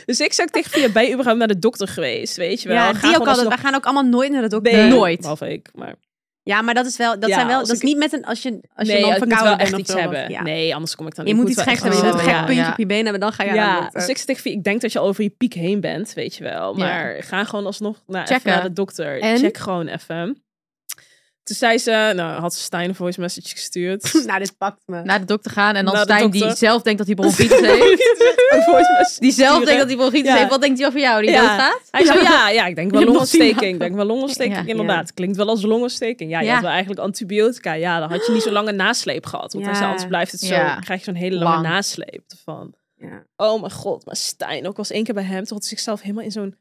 dus ik zou ook tegen via ben je überhaupt naar de dokter geweest, weet je wel?
ja,
Ga
die ook
gewoon
altijd.
alsnog-
We gaan ook allemaal nooit naar de dokter.
Nee,
nooit.
Behalve ik, maar...
Ja, maar dat is wel, dat
Ja,
zijn wel,
als
dat is
ik-
niet met een, als je, als
nee,
je dan
ik moet
verkouden
wel
bent
echt
of
iets
zo,
hebben.
want- ja.
Nee, anders kom ik dan
Je
niet.
moet
Ik
iets
wel
geks
echt
hebben, je moet
Oh,
een
ja.
gek puntje
Ja.
op je been hebben, dan ga je naar de
Ja,
dokter.
dus ik zeg tegen Via, ik denk dat je al over je piek heen bent, weet je wel. Maar ga gewoon alsnog naar, even
Checken.
naar de dokter.
En?
Check gewoon even. Toen zei ze, nou had ze Stijn een voice message gestuurd.
nou, dit pakt me.
Naar de dokter gaan en dan
Naar de
Stijn die
dokter.
zelf denkt dat hij bronchitis heeft.
Een voice message
Die zelf
sturen.
denkt dat hij bronchitis
Ja.
heeft. Wat denkt hij over jou? Die
Ja.
doodgaat?
Hij zei, ja, ja, ik denk wel
Je hebt nog tien
longontsteking. Ik denk wel longontsteking,
Ja, ja.
inderdaad. Klinkt wel als longontsteking. Ja, je
Ja.
had wel eigenlijk antibiotica. Ja, dan had je niet zo lange nasleep gehad. Want hij
Ja.
zei, anders blijft het zo.
Ja.
Dan krijg je zo'n hele lange
Lang.
nasleep ervan.
Ja.
Oh mijn god, maar Stijn, ook was één keer bij hem. Toen had hij zichzelf helemaal in zo'n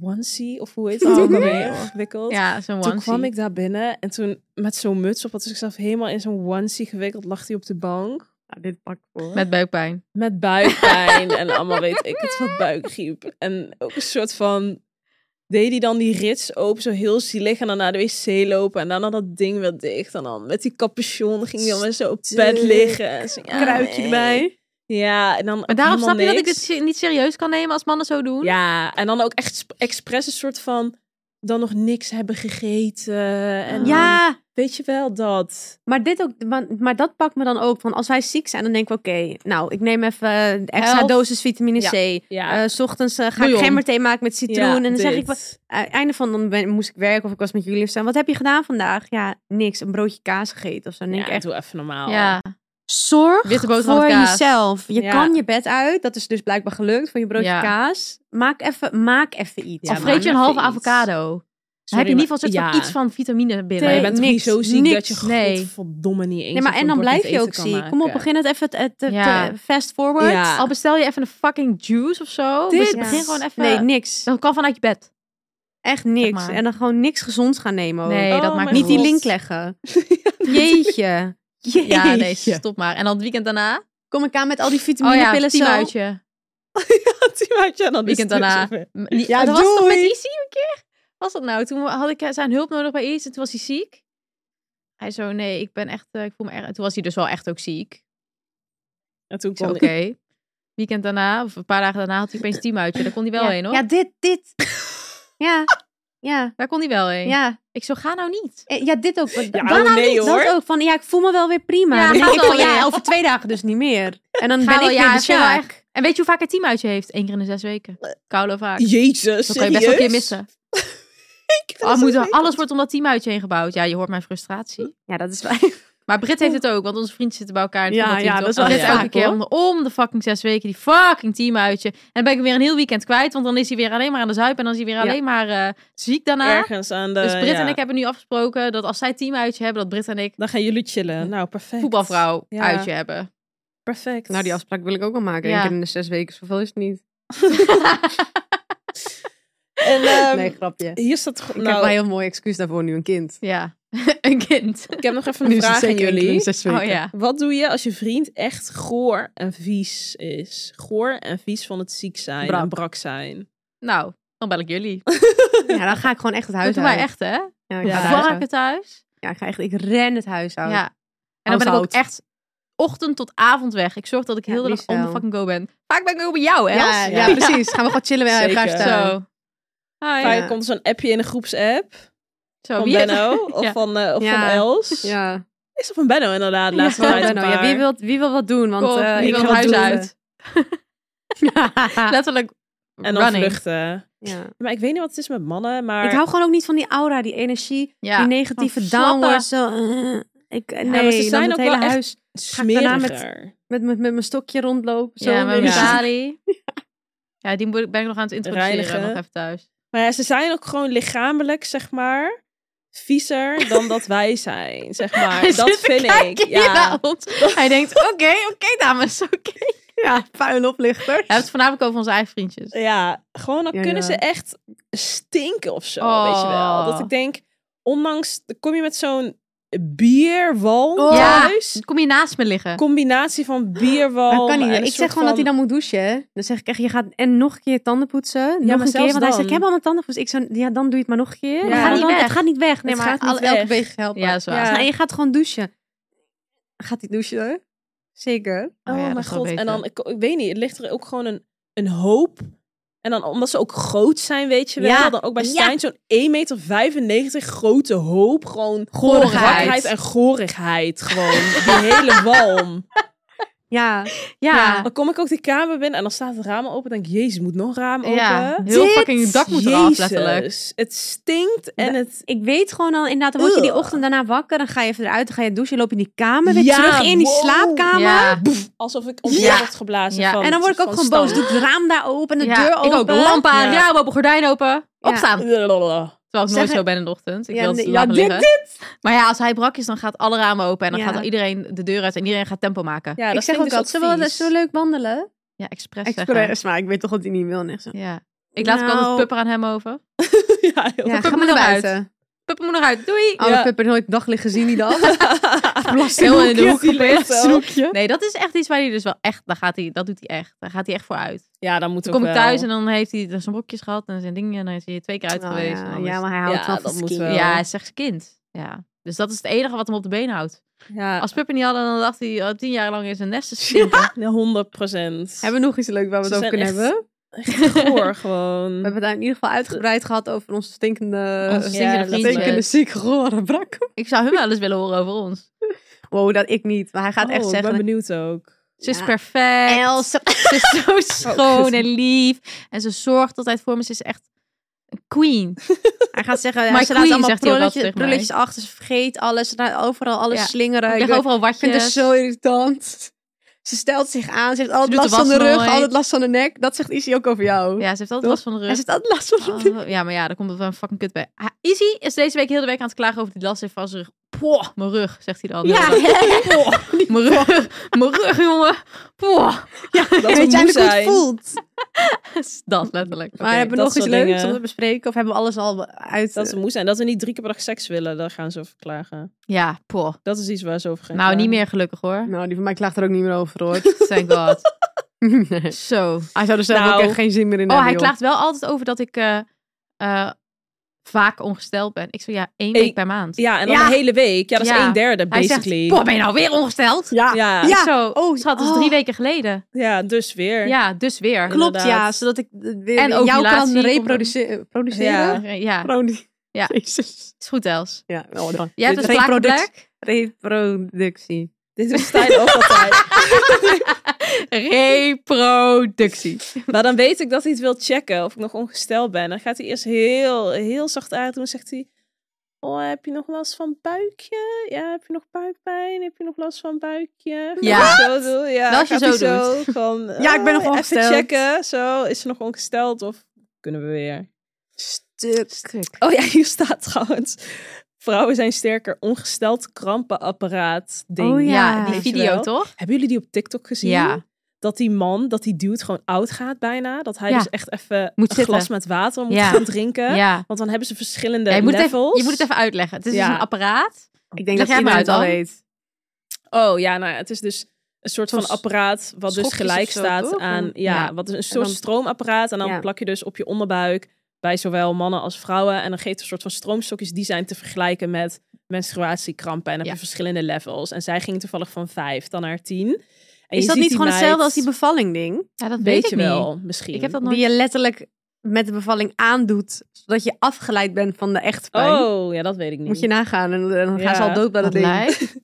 onesie, of hoe heet dat ook alweer, gewikkeld.
Oh, Ja, zo'n
Toen
onesie.
kwam ik daar binnen en toen met zo'n muts op had hij zichzelf helemaal in zo'n onesie gewikkeld. Lag hij op de bank
Nou, dit pakt me. hoor.
Met buikpijn.
met buikpijn en allemaal weet ik het wat buikgriep. En ook een soort van deed hij dan die rits open, zo heel zielig en dan naar de wc lopen en dan had dat ding weer dicht en dan met die capuchon ging hij dan weer zo op bed liggen. En zo, ja,
Kruidje
nee.
erbij.
Ja, en dan
Maar daarom snap je dat ik dit
dit
se- niet serieus kan nemen als mannen zo doen?
Ja, en dan ook echt sp- expres een soort van dan nog niks hebben gegeten en dan-
Ja,
weet je wel dat.
maar, dit ook, maar, maar dat pakt me dan ook. Want als wij ziek zijn, dan denken we, oké, nou, ik neem even een extra
Helft.
dosis vitamine
Ja.
C.
Ja.
Eh, s ochtends eh, ga ik
Bouillon.
gemmerthee maken met citroen.
Ja,
en dan zeg ik,
dit.
Eh, einde van dan ben- moest ik werken of ik was met jullie of zo. Wat heb je gedaan vandaag? Ja, niks. Een broodje kaas gegeten of zo. Dan denk
Ja,
ik echt,
doe even normaal.
Ja.
zorg
Witte boterham
voor
met kaas.
jezelf. Je
Ja.
kan je bed uit. Dat is dus blijkbaar gelukt voor je broodje
Ja.
kaas. Maak even, maak even iets.
Ja,
Of
maar
vreet je een
even
halve
iets.
avocado? Dan
Sorry,
heb je in ieder geval
maar-
een soort van
Ja.
iets van vitamine binnen.
Maar je
Nee,
bent toch
niks,
niet zo ziek dat je
niks.
Nee.
godverdomme niet eens
Nee, maar
een
en dan
bord met
blijf je
eten
ook
kan
ziek.
maken.
Kom op, begin het even te, te-
Ja.
te- fast forward.
Ja.
Al bestel je even een fucking juice of zo.
Dit-
Dit, begin
Ja.
gewoon even.
Nee, niks.
Dan kan vanuit je bed.
Echt niks.
maar.
En dan gewoon niks gezonds gaan nemen. ook.
Nee,
Oh
dat maakt
mijn
Niet die
God.
link leggen. Jeetje. Jeetje.
Ja, nee, stop maar. En dan het weekend daarna?
Kom ik aan met al die
Oh ja,
vitaminepillen zo.
teamuitje.
Teamuitje en dan is
Weekend
het weer
daarna.
zover.
M- niet-
Ja,
dat was toch met
doei.
Isi een keer? Was dat nou? Toen had ik eh, zijn hulp nodig bij Isi. Toen was hij ziek. Hij zo, nee, ik ben echt, eh, ik voel me erg. Toen was hij dus wel echt ook ziek.
En toen
Ik
Oh,
zo,
kwam
oké.
ik.
Weekend daarna, of een paar dagen daarna, had hij opeens teamuitje. Daar kon hij wel
ja.
heen, hoor.
Ja, dit, dit. ja. Ja.
Daar kon hij wel heen.
Ja.
Ik zo, ga nou niet.
Eh, Ja, dit ook.
Ja,
Waarom
oh, nee,
niet?
hoor.
Dat ook. Van, ja, ik voel me wel weer prima.
Ja,
Dan denk
gaat
ik
wel
van, ja,
weer.
over twee dagen dus niet meer. En dan
Ga
ben
wel,
ik
ja,
weer de
ik vind wel
Sjaak.
En weet je hoe vaak hij teamuitje heeft? Eén keer in de zes weken.
Eh,
Koude vaak.
Jezus,
Dat kan je best wel een keer
serieus?
missen.
Ik vind
Ah,
het
moet
zo
er- alles
ingewikkeld.
wordt om dat teamuitje heen gebouwd. Ja, je hoort mijn frustratie.
Ja, dat is waar.
Maar Brit heeft het ook, want onze vrienden zitten bij elkaar. in het
Ja,
voetbalteam,
ja,
toch?
dat is wel
En Brit
echt
elke
vaak,
keer
hoor.
om de, om de fucking zes weken die fucking teamuitje. En dan ben ik hem weer een heel weekend kwijt, want dan is hij weer alleen maar aan de zuip en dan is hij weer alleen maar eh, ziek daarna.
ergens aan de.
dus Brit
ja.
en ik hebben nu afgesproken dat als zij teamuitje hebben, dat Brit en ik
Dan gaan jullie chillen. Nou, perfect.
voetbalvrouw
Ja.
uitje hebben.
Perfect.
Nou, die afspraak wil ik ook wel maken.
Ja.
Eén keer in de zes weken. Zoveel is het niet.
En, ehm,
nee, grapje. Ik
Hier staat.
heb wel een
Nou,
heel mooi excuus daarvoor nu, een kind.
ja, een kind.
ik heb nog even
Nu
een
is het
vraag aan
zeker één keer in de
jullie.
zes weken.
Oh ja.
Wat doe je als je vriend echt goor en vies is? Goor en vies van het ziek zijn
Brak.
en brak zijn.
Nou, dan bel ik jullie.
Ja, dan ga ik gewoon echt het
Dat
huis
doen
uit.
wij echt, hè?
Ja, ik,
Ja.
Ga
Ja.
het huis uit.
Varken thuis.
ja, ik ga echt, ik ren het huis uit.
Ja. En dan ben ik ook
Huishoud.
echt ochtend tot avond weg. Ik zorg dat ik
Ja,
heel de dag
liefst
on the
wel.
fucking go ben. Vaak ben ik ook bij jou, hè?
ja,
Els?
ja, precies. Gaan we gewoon chillen bij elkaar
Zeker.
staan.
Zo. Hi.
Vaak
Ja.
komt zo'n appje in een groepsapp
Zo,
van
wie heeft-
Benno of
Ja.
van, eh, of
Ja.
van Els.
Ja.
Is er van Benno inderdaad, de laatste
Gewoon
tijd een
Benno. Ja,
paar.
wie, wil, wie wil wat doen? Want
Kom,
eh,
wie
ik
wil
ga
het huis
wat doen.
uit? Letterlijk
en dan
running.
vluchten.
Ja.
Maar ik weet niet wat het is met mannen, maar...
Ik hou gewoon ook niet van die aura, die energie,
Ja,
die negatieve
van flappen.
downward. Zo, eh, ik, nee,
maar ze
dan
zijn
het
ook
hele
wel echt-
huis daarna met-
smeriger.
met, met, met mijn stokje rondlopen. Zo
ja, met
Ja.
mijn Sari. Ja, die moet ik- ben ik nog aan het introduceren.
Reinigen.
Nog even thuis.
Maar ja, ze zijn ook gewoon lichamelijk, zeg maar, viezer dan dat wij zijn, zeg
Hij
maar.
zit
dat
te
vind ik.
kijken hier
Ja.
naar ons. Hij denkt, oké, oké dames, oké.
ja, puin oplichter.
We hebben het voornamelijk over onze eigen vriendjes.
ja, gewoon dan
Ja,
kunnen
ja.
ze echt stinken of zo,
Oh.
weet je wel. Dat ik denk, ondanks, dan kom je met zo'n bierwal
Oh.
thuis.
Dan Dus Kom je naast me liggen?
Combinatie van bierwal.
Dat kan niet.
en Oh, een
Ik
soort
zeg gewoon dat hij
van-
dan moet douchen. hè. Dan zeg ik echt, je gaat en nog een keer tanden poetsen. nog
maar
een keer.
zelfs
Want hij zegt,
dan.
ik heb al mijn tanden gepoetst. Ik zo, ja, dan doe je het maar nog een
Ja.
keer. Maar
Het gaat
dan-
niet weg.
Het gaat niet weg. Nee,
Het
maar
gaat niet
alle- elke
weg.
beweging helpen.
Ja, zwaar.
Ja.
Dus nee, je gaat gewoon douchen. Gaat hij douchen? hoor? Zeker.
Oh,
ja, dat
mijn
is wel
god. En
beter.
dan, ik, ik weet niet, het ligt er ook gewoon een, een hoop. En dan, omdat ze ook groot zijn, weet je wel.
Ja.
Dan ook bij
Ja.
Stijn zo'n 1,95 meter grote hoop. Gewoon
Gorigheid.
rakheid en gorigheid. Gewoon, die hele walm.
Ja.
Ja,
Dan kom ik ook die kamer binnen en dan staat het raam al open. Dan denk ik, jezus, moet nog een raam open.
ja. heel
Dit-
fucking dak moet eraf, letterlijk.
Jezus, Het stinkt en het...
Ik weet gewoon al, inderdaad, dan word je die
Ugh.
ochtend daarna wakker. Dan ga je even eruit, dan ga je douchen, loop je in die kamer weer
Ja,
terug in, die
wow.
slaapkamer.
Ja.
Alsof ik omhoog
Ja.
werd geblazen
Ja.
van
En dan word ik ook
van
gewoon boos.
stank.
Doe het raam daar open, de
Ja,
deur open.
Ik ook. Lampen
Ja.
aan, raam open, gordijn open.
Ja.
Opstaan.
Lalalala.
Terwijl ik
Zeg-
nooit zo ben in de ochtend. Ik
Ja,
wil het
nee,
laten
ja, dit-
liggen. Maar ja, als hij brak is, dan gaat alle ramen open. En dan
Ja.
gaat iedereen de deur uit en iedereen gaat tempo maken. Ja,
Ja, dat
ik zeg
vind
ook
dus
altijd, zullen we
vies.
zo leuk wandelen?
expres zeggen.
Expres, maar ik weet toch dat hij niet wil. en echt zo.
Ja. Ik laat ook
Nou.
altijd pupper aan hem over.
Ja, heel
Ja,
Pupper
ga maar
moet
naar
eruit.
buiten.
Pupper moet eruit, doei!
Oude
Ja.
Pupper nooit daglicht gezien die dag.
Heel in de hoek
Die ligt
gepeerd.
zo.
Nee, dat is echt iets waar hij dus wel echt, daar gaat hij, dat doet hij echt. Daar gaat hij echt voor uit.
Ja, dan moet
Dan
ook
kom ik
wel.
thuis en dan heeft hij dus zijn brokjes gehad en zijn dingen. En dan is hij twee keer uit
Oh,
geweest. en
ja.
dan is-
ja, maar hij houdt
Ja,
wel van
dat moet
skiën.
wel.
ja, hij is slechts kind. Ja. Dus dat is het enige wat hem op de been houdt.
Ja,
Als Pupper niet hadden, dan dacht hij al tien jaar lang in zijn nest te stinken.
nee, 100 procent.
Hebben we nog iets leuks waar we
Ze
het over
zijn
kunnen
echt-
hebben?
gehoor
We
gewoon.
hebben het in ieder geval uitgebreid gehad over onze stinkende...
Onze
Ja,
stinkende
dat
vriendjes.
stinkende ziek gore brak.
Ik zou hem wel eens willen horen over ons.
Wow, dat ik niet. Maar hij gaat echt
Oh,
zeggen...
Ik ben benieuwd ook.
Ze is
Ja. Oh,
perfect.
Els.
Ze is zo schoon en lief. En ze zorgt altijd voor me. Ze is echt een queen.
Hij gaat zeggen,
My
hij ze laat
queen,
allemaal
zegt hij ook altijd
prulletjes,
tegen mij.
prulletjes achter, ze vergeet alles, ze laat overal alles
Ja.
slingeren.
Ik
Ik,
leg
weet-
overal
ik vind het
watjes.
zo irritant. Ze stelt zich aan, ze heeft altijd
doet de
last van de
was
rug,
nooit.
altijd last van de nek. Dat zegt Izzy ook over jou.
Ja, ze heeft altijd
Toch?
last van de
Hij
rug.
zegt altijd last van de rug.
Oh, ja, maar ja, daar komt het wel een fucking kut bij. Ha, Izzy is deze week heel de week aan het klagen over die last heeft van zijn rug. Poh, mijn rug, zegt hij dan.
Ja.
Poh, mijn rug, mijn rug, jongen. Poh.
Ja, dat
we moe
weet je eigenlijk hoe
zijn.
het voelt.
Dat letterlijk.
maar hebben we
dat
nog iets
soort
leuks
dingen.
om te bespreken? Of hebben we alles al uit? eh,
Dat ze moe zijn. Dat ze niet drie keer per dag seks willen, daar gaan ze over klagen.
Ja, poh.
Dat is iets waar ze over gaan
Nou, niet
klagen.
meer gelukkig hoor.
Nou, die van mij klaagt er ook niet meer over, hoor. Dus
Thank god. Zo.
Hij zou dus er zelf
Nou.
ook echt geen zin meer in
Oh,
hebben,
hij
joh.
klaagt wel altijd over dat ik eh, eh, vaak ongesteld ben. Ik zo, ja, één
Eén-
week per maand.
Ja, en dan
Ja.
de hele week. Ja, dat is
Ja.
een derde,
Hij zegt,
basically.
poh, ben je nou weer ongesteld?
Ja,
Ja.
ja.
Zo,
Oh,
schat, dat is
oh.
drie weken geleden.
ja, dus weer.
Ja, dus weer.
klopt, ja.
inderdaad.
Zodat ik eh, weer
En
jou kan
ovulatie
reproduceren. Produceren?
Ja.
Ja,
Produ-
Ja.
Jezus.
is goed Els.
Ja, wel dan.
Jij hebt dus
Dit-
een
reproduct-
plaatplek?
Reproductie.
Dit is Stijn ook altijd.
Reproductie.
Maar dan weet ik dat hij het wil checken of ik nog ongesteld ben. Dan gaat hij eerst heel, heel zacht aan doen. Zegt hij, oh, heb je nog last van buikje? Ja, heb je nog buikpijn? Heb je nog last van buikje?
Ja.
Gaat hij Zo doen, ja
Wel als je
gaat
zo
hij zo van,
Ja, ik ben nog
oh,
ongesteld.
Even checken. Zo, is ze nog ongesteld of kunnen we weer?
Stuk.
Stuk.
Oh ja, hier staat trouwens. Vrouwen zijn sterker. Ongesteld krampenapparaat ding.
Oh
Ja,
Ja,
die
weet je
video
wel.
toch?
Hebben jullie die op TikTok gezien?
Ja.
Dat die man, dat die dude gewoon oud gaat bijna. Dat hij
Ja.
dus echt even
Moet
een
zitten.
glas met water moet
Ja.
gaan drinken.
Ja.
Want dan hebben ze verschillende
Ja, je, moet het even,
levels.
je moet het even uitleggen. Het is
Ja.
dus een apparaat.
Ik denk
Leg jij
dat jij
maar
het al
uit, Anne.
weet.
Oh ja, nou ja, het is dus een soort van
Soms
apparaat wat dus
schokjes
gelijk
of zo,
staat
toch?
aan... Ja,
Ja.
wat is een soort
dan-
stroomapparaat. En dan
Ja.
plak je dus op je onderbuik bij zowel mannen als vrouwen. En dan geeft het een soort van stroomstokjes die zijn te vergelijken met menstruatiekrampen. En dan heb
Ja.
je verschillende levels. En zij ging toevallig van vijf dan naar tien. En je
Is dat
ziet
niet
die
gewoon
meid-
hetzelfde als die bevalling ding?
Ja, dat weet,
Weet je
ik niet.
wel, misschien.
Ik heb dat nooit.
Die je letterlijk met de bevalling aandoet, zodat je afgeleid bent van de echte pijn.
Oh, ja, dat weet ik niet.
Moet je nagaan en dan gaan ze
Ja.
al dood bij dat
Wat
ding.
lijp.
Ik
Maar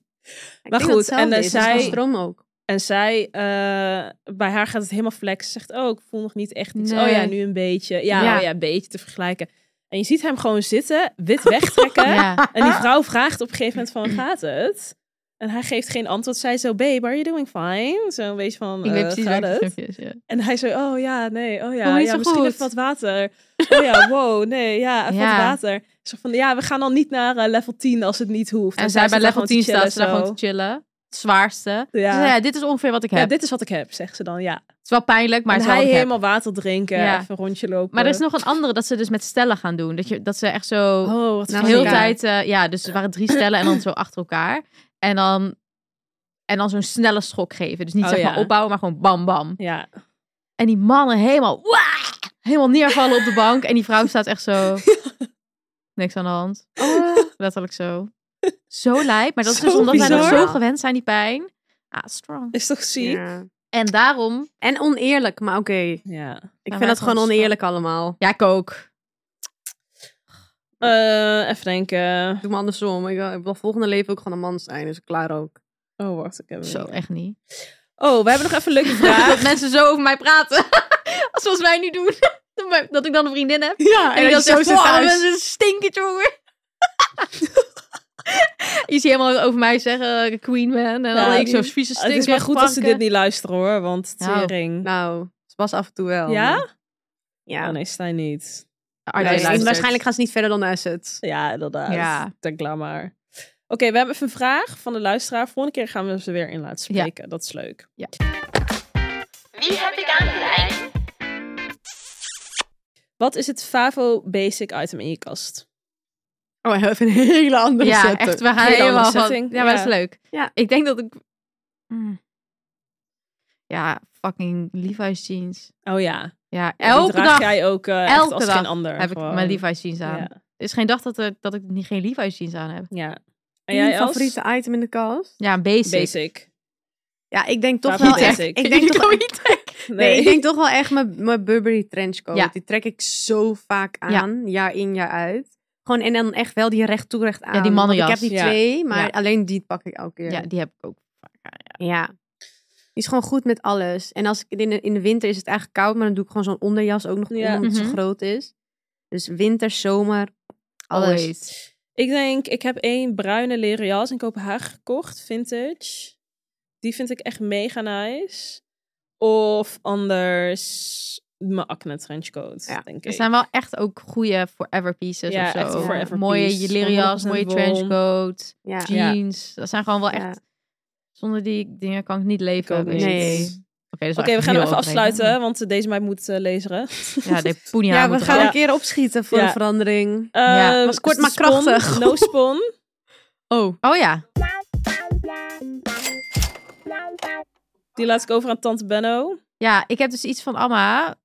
denk dat
goed,
hetzelfde
en, eh,
is, dat is
zij-
van stroom ook.
En zij, eh, bij haar gaat het helemaal flex. Ze zegt, oh, ik voel nog niet echt iets.
Nee.
Oh ja, nu een beetje. Ja,
Ja.
Oh, ja, een beetje te vergelijken. En je ziet hem gewoon zitten, wit wegtrekken.
Ja. Ah.
En die vrouw vraagt op een gegeven moment van, gaat het? En hij geeft geen antwoord. Zij zo, babe, are you doing fine? Zo een beetje van,
Ik weet
eh,
precies
gaat
waar die
het?
filmpjes. Ja.
En hij zo, oh ja, nee, oh
Voel
ja,
niet
ja
zo
misschien
goed.
even wat water. Oh ja, wow, nee, ja, even
Ja.
wat water. Zo van, ja, we gaan dan niet naar eh, level 10 als het niet hoeft.
En zij
zit daar
bij level
gewoon te
10 staat, ze daar
chillen,
gewoon te chillen. Het zwaarste.
zo.
Ja.
Ja.
ja, dit is ongeveer wat ik heb.
ja, dit is wat ik heb, zegt ze dan, ja.
Het is wel pijnlijk, maar
Maar
het
en hij
is wel wat ik heb.
helemaal water drinken,
Ja.
even een rondje lopen.
Maar er is nog een andere dat ze dus met stellen gaan doen. Dat, je, dat ze echt zo
Oh, wat
Nou,
de hele
elkaar.
tijd... eh, ja, dus er waren drie stellen en dan zo achter elkaar. En dan, en dan zo'n snelle schok geven. Dus niet
Oh,
zeg maar
ja.
opbouwen, maar gewoon bam bam.
Ja.
En die mannen helemaal... "Waa!" helemaal neervallen op de bank. En die vrouw staat echt zo... Niks aan de hand.
Oh.
Letterlijk zo. Zo lijp. Maar dat is
Zo
dus omdat wij nog
bizar.
zo gewend zijn, die pijn. Ah, strong.
Is toch ziek? Ja.
Ja.
En daarom...
En oneerlijk, maar oké. Ik
wij
vind dat
gewoon
gewoon oneerlijk allemaal.
Ja, ik ook.
Eh, even denken.
Doe me andersom. Ik wil, ik wil volgende leven ook gewoon een man zijn, dus klaar ook.
Oh, wacht. Ik heb hem
Zo,
niet.
echt niet.
Oh, we hebben nog even een leuke
dat
vraag.
mensen zo over mij praten. Zoals wij nu doen. Dat ik dan een vriendin heb.
Ja,
En, ik dan zeg, wow,
thuis.
dat is een stinkend jongen. je ziet helemaal over mij zeggen, dat ik queen man. En
Ja,
dan ik
die-
zo'n vieze stink.
Het is maar goed als ze dit niet luisteren, hoor. Want
Nou,
tering.
Nou, ze was af en toe wel.
ja?
Ja.
nou.
Oh, nee, Stijn niet.
Nee,
Arjen
en
luistert.
waarschijnlijk gaan ze niet verder dan de assets.
Ja, inderdaad.
Ja.
Denk laat maar. Oké, we hebben even een vraag van de luisteraar. Volgende keer gaan we ze weer in laten
Ja.
spreken. Dat is leuk.
Wie heb ik aan de lijn?
Wat is het Favo Basic item in je kast?
Oh, even een hele andere
Ja,
setup.
echt, we gaan
Hele
helemaal
andere
van...
setting,
Ja, maar dat
ja.
is leuk.
Ja.
Ik denk dat ik... Mm. Ja, fucking Levi's jeans.
Oh ja.
Ja,
Ja, die
elke
draag
dag
jij ook eh, echt
Elke
als
dag
geen ander.
heb ik
gewoon.
mijn Levi's jeans aan.
Ja.
Er is geen dag dat, er, dat ik niet geen Levi's jeans aan heb.
ja. En jij,
Mijn
Els?
favoriete item in de kast?
Ja, een basic.
Basic.
Ja, ik denk toch wel
Favoriete
echt...
basic.
Ik denk toch,
Nee,
nee, ik denk toch wel echt mijn, mijn Burberry trenchcoat.
Ja.
Die trek ik zo vaak aan, jaar in, jaar uit. Gewoon, en dan echt wel die recht toe, recht aan.
die
Want
mannenjas.
Ik heb die
Ja.
twee, maar
Ja.
alleen die pak ik elke keer.
Ja, die heb ik ook.
Ja. Die is gewoon goed met alles. En als ik in de, in de winter is het eigenlijk koud, maar dan doe ik gewoon zo'n onderjas ook nog
Ja.
om, omdat het
Mhm.
zo groot is. Dus winter, zomer, alles.
Always.
Ik denk, ik heb één bruine leren jas in Kopenhagen gekocht, vintage. Die vind ik echt mega nice. Of anders mijn acne trenchcoat,
Ja,
denk
Er
ik.
zijn wel echt ook goede forever pieces
Ja,
of zo.
echt
een forever
mooie
piece.
leren jas,
100%
mooie
wol.
trenchcoat,
Ja.
Ja.
jeans. Dat zijn gewoon wel echt... Zonder die dingen kan ik niet
Ik
leven.
ook
weet
niet.
je.
Nee.
Oké, dat is
Oké,
wel dus echt
we gaan
heel
hem even
overdreven.
afsluiten, want eh, deze meid moet eh, lezen.
Ja, de poenia
Ja, we
moet
gaan
eraf.
een keer opschieten voor
Ja.
de verandering.
Ja,
Eh,
was kort
de
maar
spon,
krachtig.
No spon.
Oh.
Oh ja.
Die laat ik over aan tante Benno.
Ja, ik heb dus iets van Amma,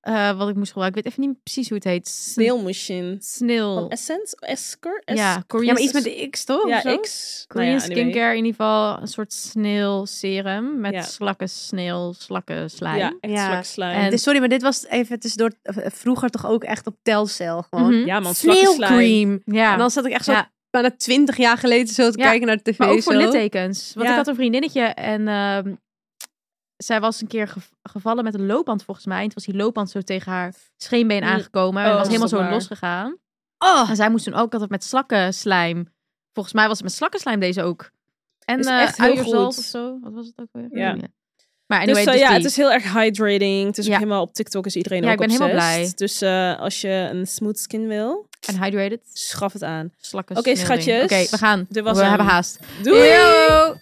eh, wat ik moest gebruiken. Ik weet even niet precies hoe het heet. Sn-
Sneeuwmachine. Van
Snil.
Essence? Esker? Es-
Oh. Ja,
Ja,
Korean
maar iets met de X
Oh,
toch? Of zo?
Ja, X. Nou
Korean
ja, anyway.
skincare in ieder geval een soort sneeuw serum met
Ja.
slakken sneeuw, slakken slijm. Mhm.
Ja, echt
Ja.
ja.
En-
Dus sorry, maar dit was even tussendoor eh, vroeger toch ook echt op Telcel gewoon.
Mhm.
Ja, man, slakkenslime.
Sneeuwcream.
Ja.
En dan zat ik echt zo
Ja.
bijna twintig jaar geleden zo te
Ja.
kijken naar de tv.
maar ook voor
zo.
littekens. Want
Ja.
ik had een vriendinnetje en ehm, zij was een keer gev- gevallen met een loopband volgens mij. En toen was die loopband zo tegen haar scheenbeen
Mm.
aangekomen.
Oh,
en was
dat is
helemaal
toch
zo
waar.
losgegaan.
Oh,
En zij moest toen ook altijd met slakken slijm. Volgens mij was het met slakken slijm deze ook. En
Is
eh
echt heel
uierzalt
goed.
of zo. Wat was het ook weer?
Ja.
Maar anyway,
dus eh,
dus
ja,
die.
het is heel erg hydrating. Het is ook
Ja.
helemaal op TikTok is iedereen
Ja,
ook
ik ben helemaal
obsessed. Dus eh, als je een smooth skin wil,
En hydrated.
schaf het aan.
Slakken
Oké,
sneeuwding.
schatjes.
Oké, we gaan.
Dit was
we
hem.
hebben haast.
Doei!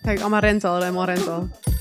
kijk, allemaal rental, allemaal rental.